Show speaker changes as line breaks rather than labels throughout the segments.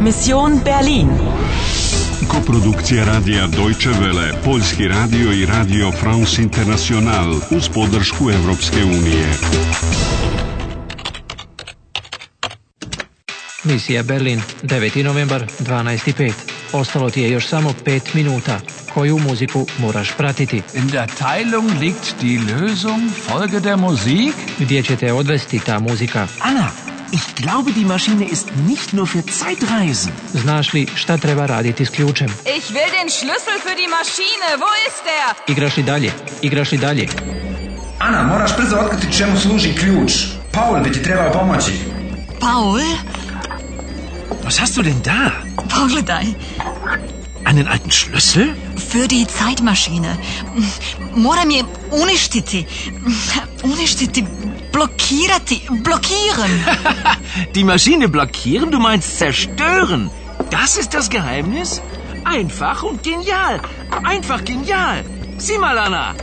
Mission Berlin.
Koprodukcija radija Deutsche Welle, Poljski radio i radio France International uz podršku Europske unije.
Misija Berlin, 9. novembar, 12.05. Ostalo ti je još samo 5 minuta. Koju muziku moraš pratiti?
In der Teilung liegt die Lösung. Folge der Musik.
Gdje će te odvesti ta muzika?
Anna, ich glaube, die Maschine ist nicht nur für Zeitreisen.
Znaš li šta treba raditi s ključem?
Ich will den Schlüssel für die Maschine. Wo ist der?
Igraš li dalje? Igraš li dalje?
Ana, moraš brzo otkriti čemu služi ključ. Paul bi ti trebao pomoći.
Paul,
Was hast du denn da?
pogledaj,
Einen alten Schlüssel?
für die Zeitmaschine. Moram je uništiti, uništiti, blokirati, blokiram.
Die Maschine blockieren? Du meinst zerstören? Das ist das Geheimnis? Einfach und genial. Einfach genial. Sieh mal, Anna.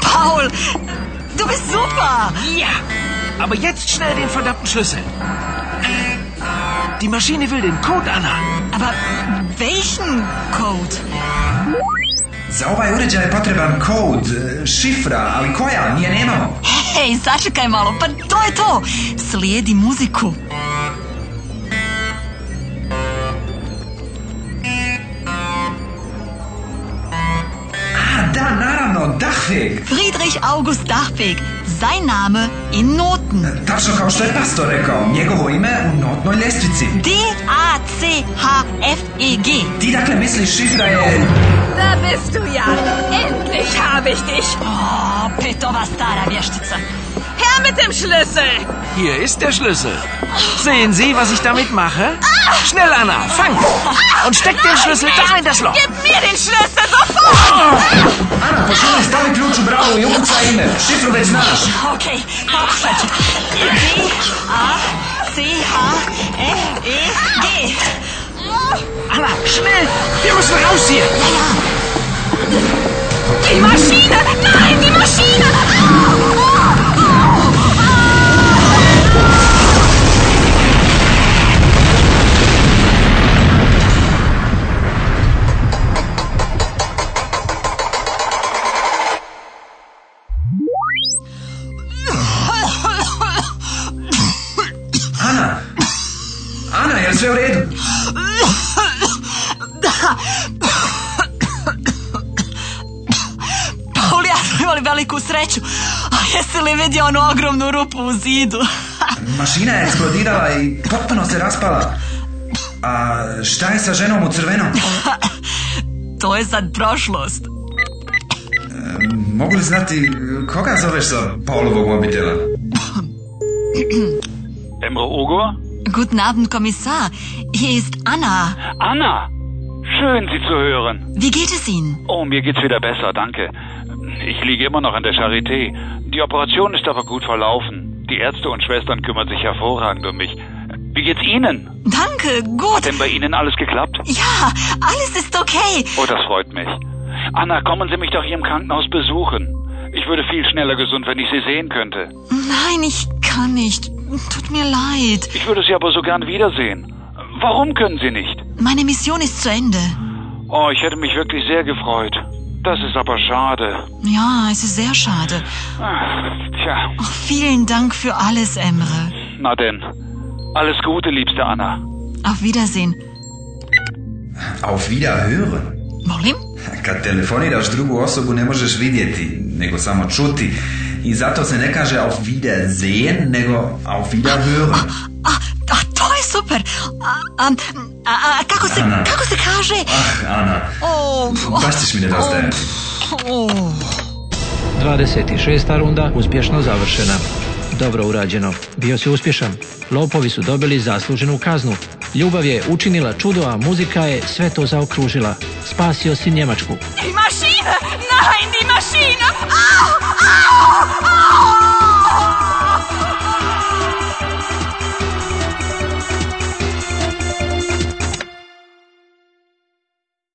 Paul, du bist super.
Ja. Aber jetzt schnell den verdammten Schlüssel. Die Maschine will den Code, Anna.
Aber welchen Code?
Za ovaj uređaj je potreban kod, e, šifra, ali koja? Nije nemamo.
Hej, sačekaj malo, pa to je to. Slijedi muziku.
A, da, naravno, Dachweg.
Friedrich August Dachweg, sein Name in Noten.
Tačno kao što je Pastor rekao, njegovo ime u notnoj ljestvici.
D-A-C-H-F-E-G.
Ti dakle misliš šifra je...
Da bist du ja. Endlich habe ich dich.
Opet ova stara vještica.
Her mit dem Schlüssel.
Hier ist der Schlüssel. Sehen Sie, was ich damit mache? Schnell, Anna, fang! Und steck den Schlüssel da in das Loch.
Gib mir den Schlüssel sofort.
Ana, počini, stavi ključ u bravu i ukucaj ime. Šifru već znaš.
Ok, pokušat ću. D-A-C-H-F-E-G.
Anna, schnell! Wir müssen raus hier!
Die Maschine. Nein, die Maschine.
Ana! Ana, je li sve u redu?
Paul, ja smo imali veliku sreću. A jesi li vidio onu ogromnu rupu u zidu?
Mašina je eksplodirala i potpuno se raspala. A šta je sa ženom u crvenom?
to je sad prošlost.
Mogu li znati koga zoveš sa Paulovog mobitela?
Emre Ogur?
Guten Abend, Kommissar. Hier ist Anna.
Anna! Schön, Sie zu hören.
Wie geht es Ihnen?
Oh, mir geht's wieder besser, danke. Ich liege immer noch in der Charité. Die Operation ist aber gut verlaufen. Die Ärzte und Schwestern kümmern sich hervorragend um mich. Wie geht's Ihnen?
Danke, gut.
Denn bei Ihnen alles geklappt?
Ja, alles ist okay.
Oh, das freut mich. Anna, kommen Sie mich doch hier im Krankenhaus besuchen. Ich würde viel schneller gesund, wenn ich Sie sehen könnte.
Nein, ich kann nicht. Tut mir leid.
Ich würde Sie aber so gern wiedersehen. Warum können Sie nicht?
Meine Mission ist zu Ende.
Oh, ich hätte mich wirklich sehr gefreut. Das ist aber schade.
Ja, es ist sehr schade.
Ah, Tja.
Ach, vielen Dank für alles, Emre.
Na denn. Alles Gute, liebste Anna.
Auf Wiedersehen.
Auf Wiederhören.
Molim?
Kad telefoniraš drugu osobu ne možeš vidjeti, nego samo čuti. I zato se ne kaže auf Wiedersehen, nego auf Wiederhören.
A, a to je Ah, super. Ah, ähm, A, a, a, a kako se,
Ana.
kako se kaže?
Ah, Ana,
O,
baš ćeš mi nedostajati.
o.
26. runda uspješno završena. Dobro urađeno. Bio si uspješan. Lopovi su dobili zasluženu kaznu. Ljubav je učinila čudo, a muzika je sve to zaokružila. Spasio si Njemačku.
Die Maschine. Nein, die Maschine. Au, au, au.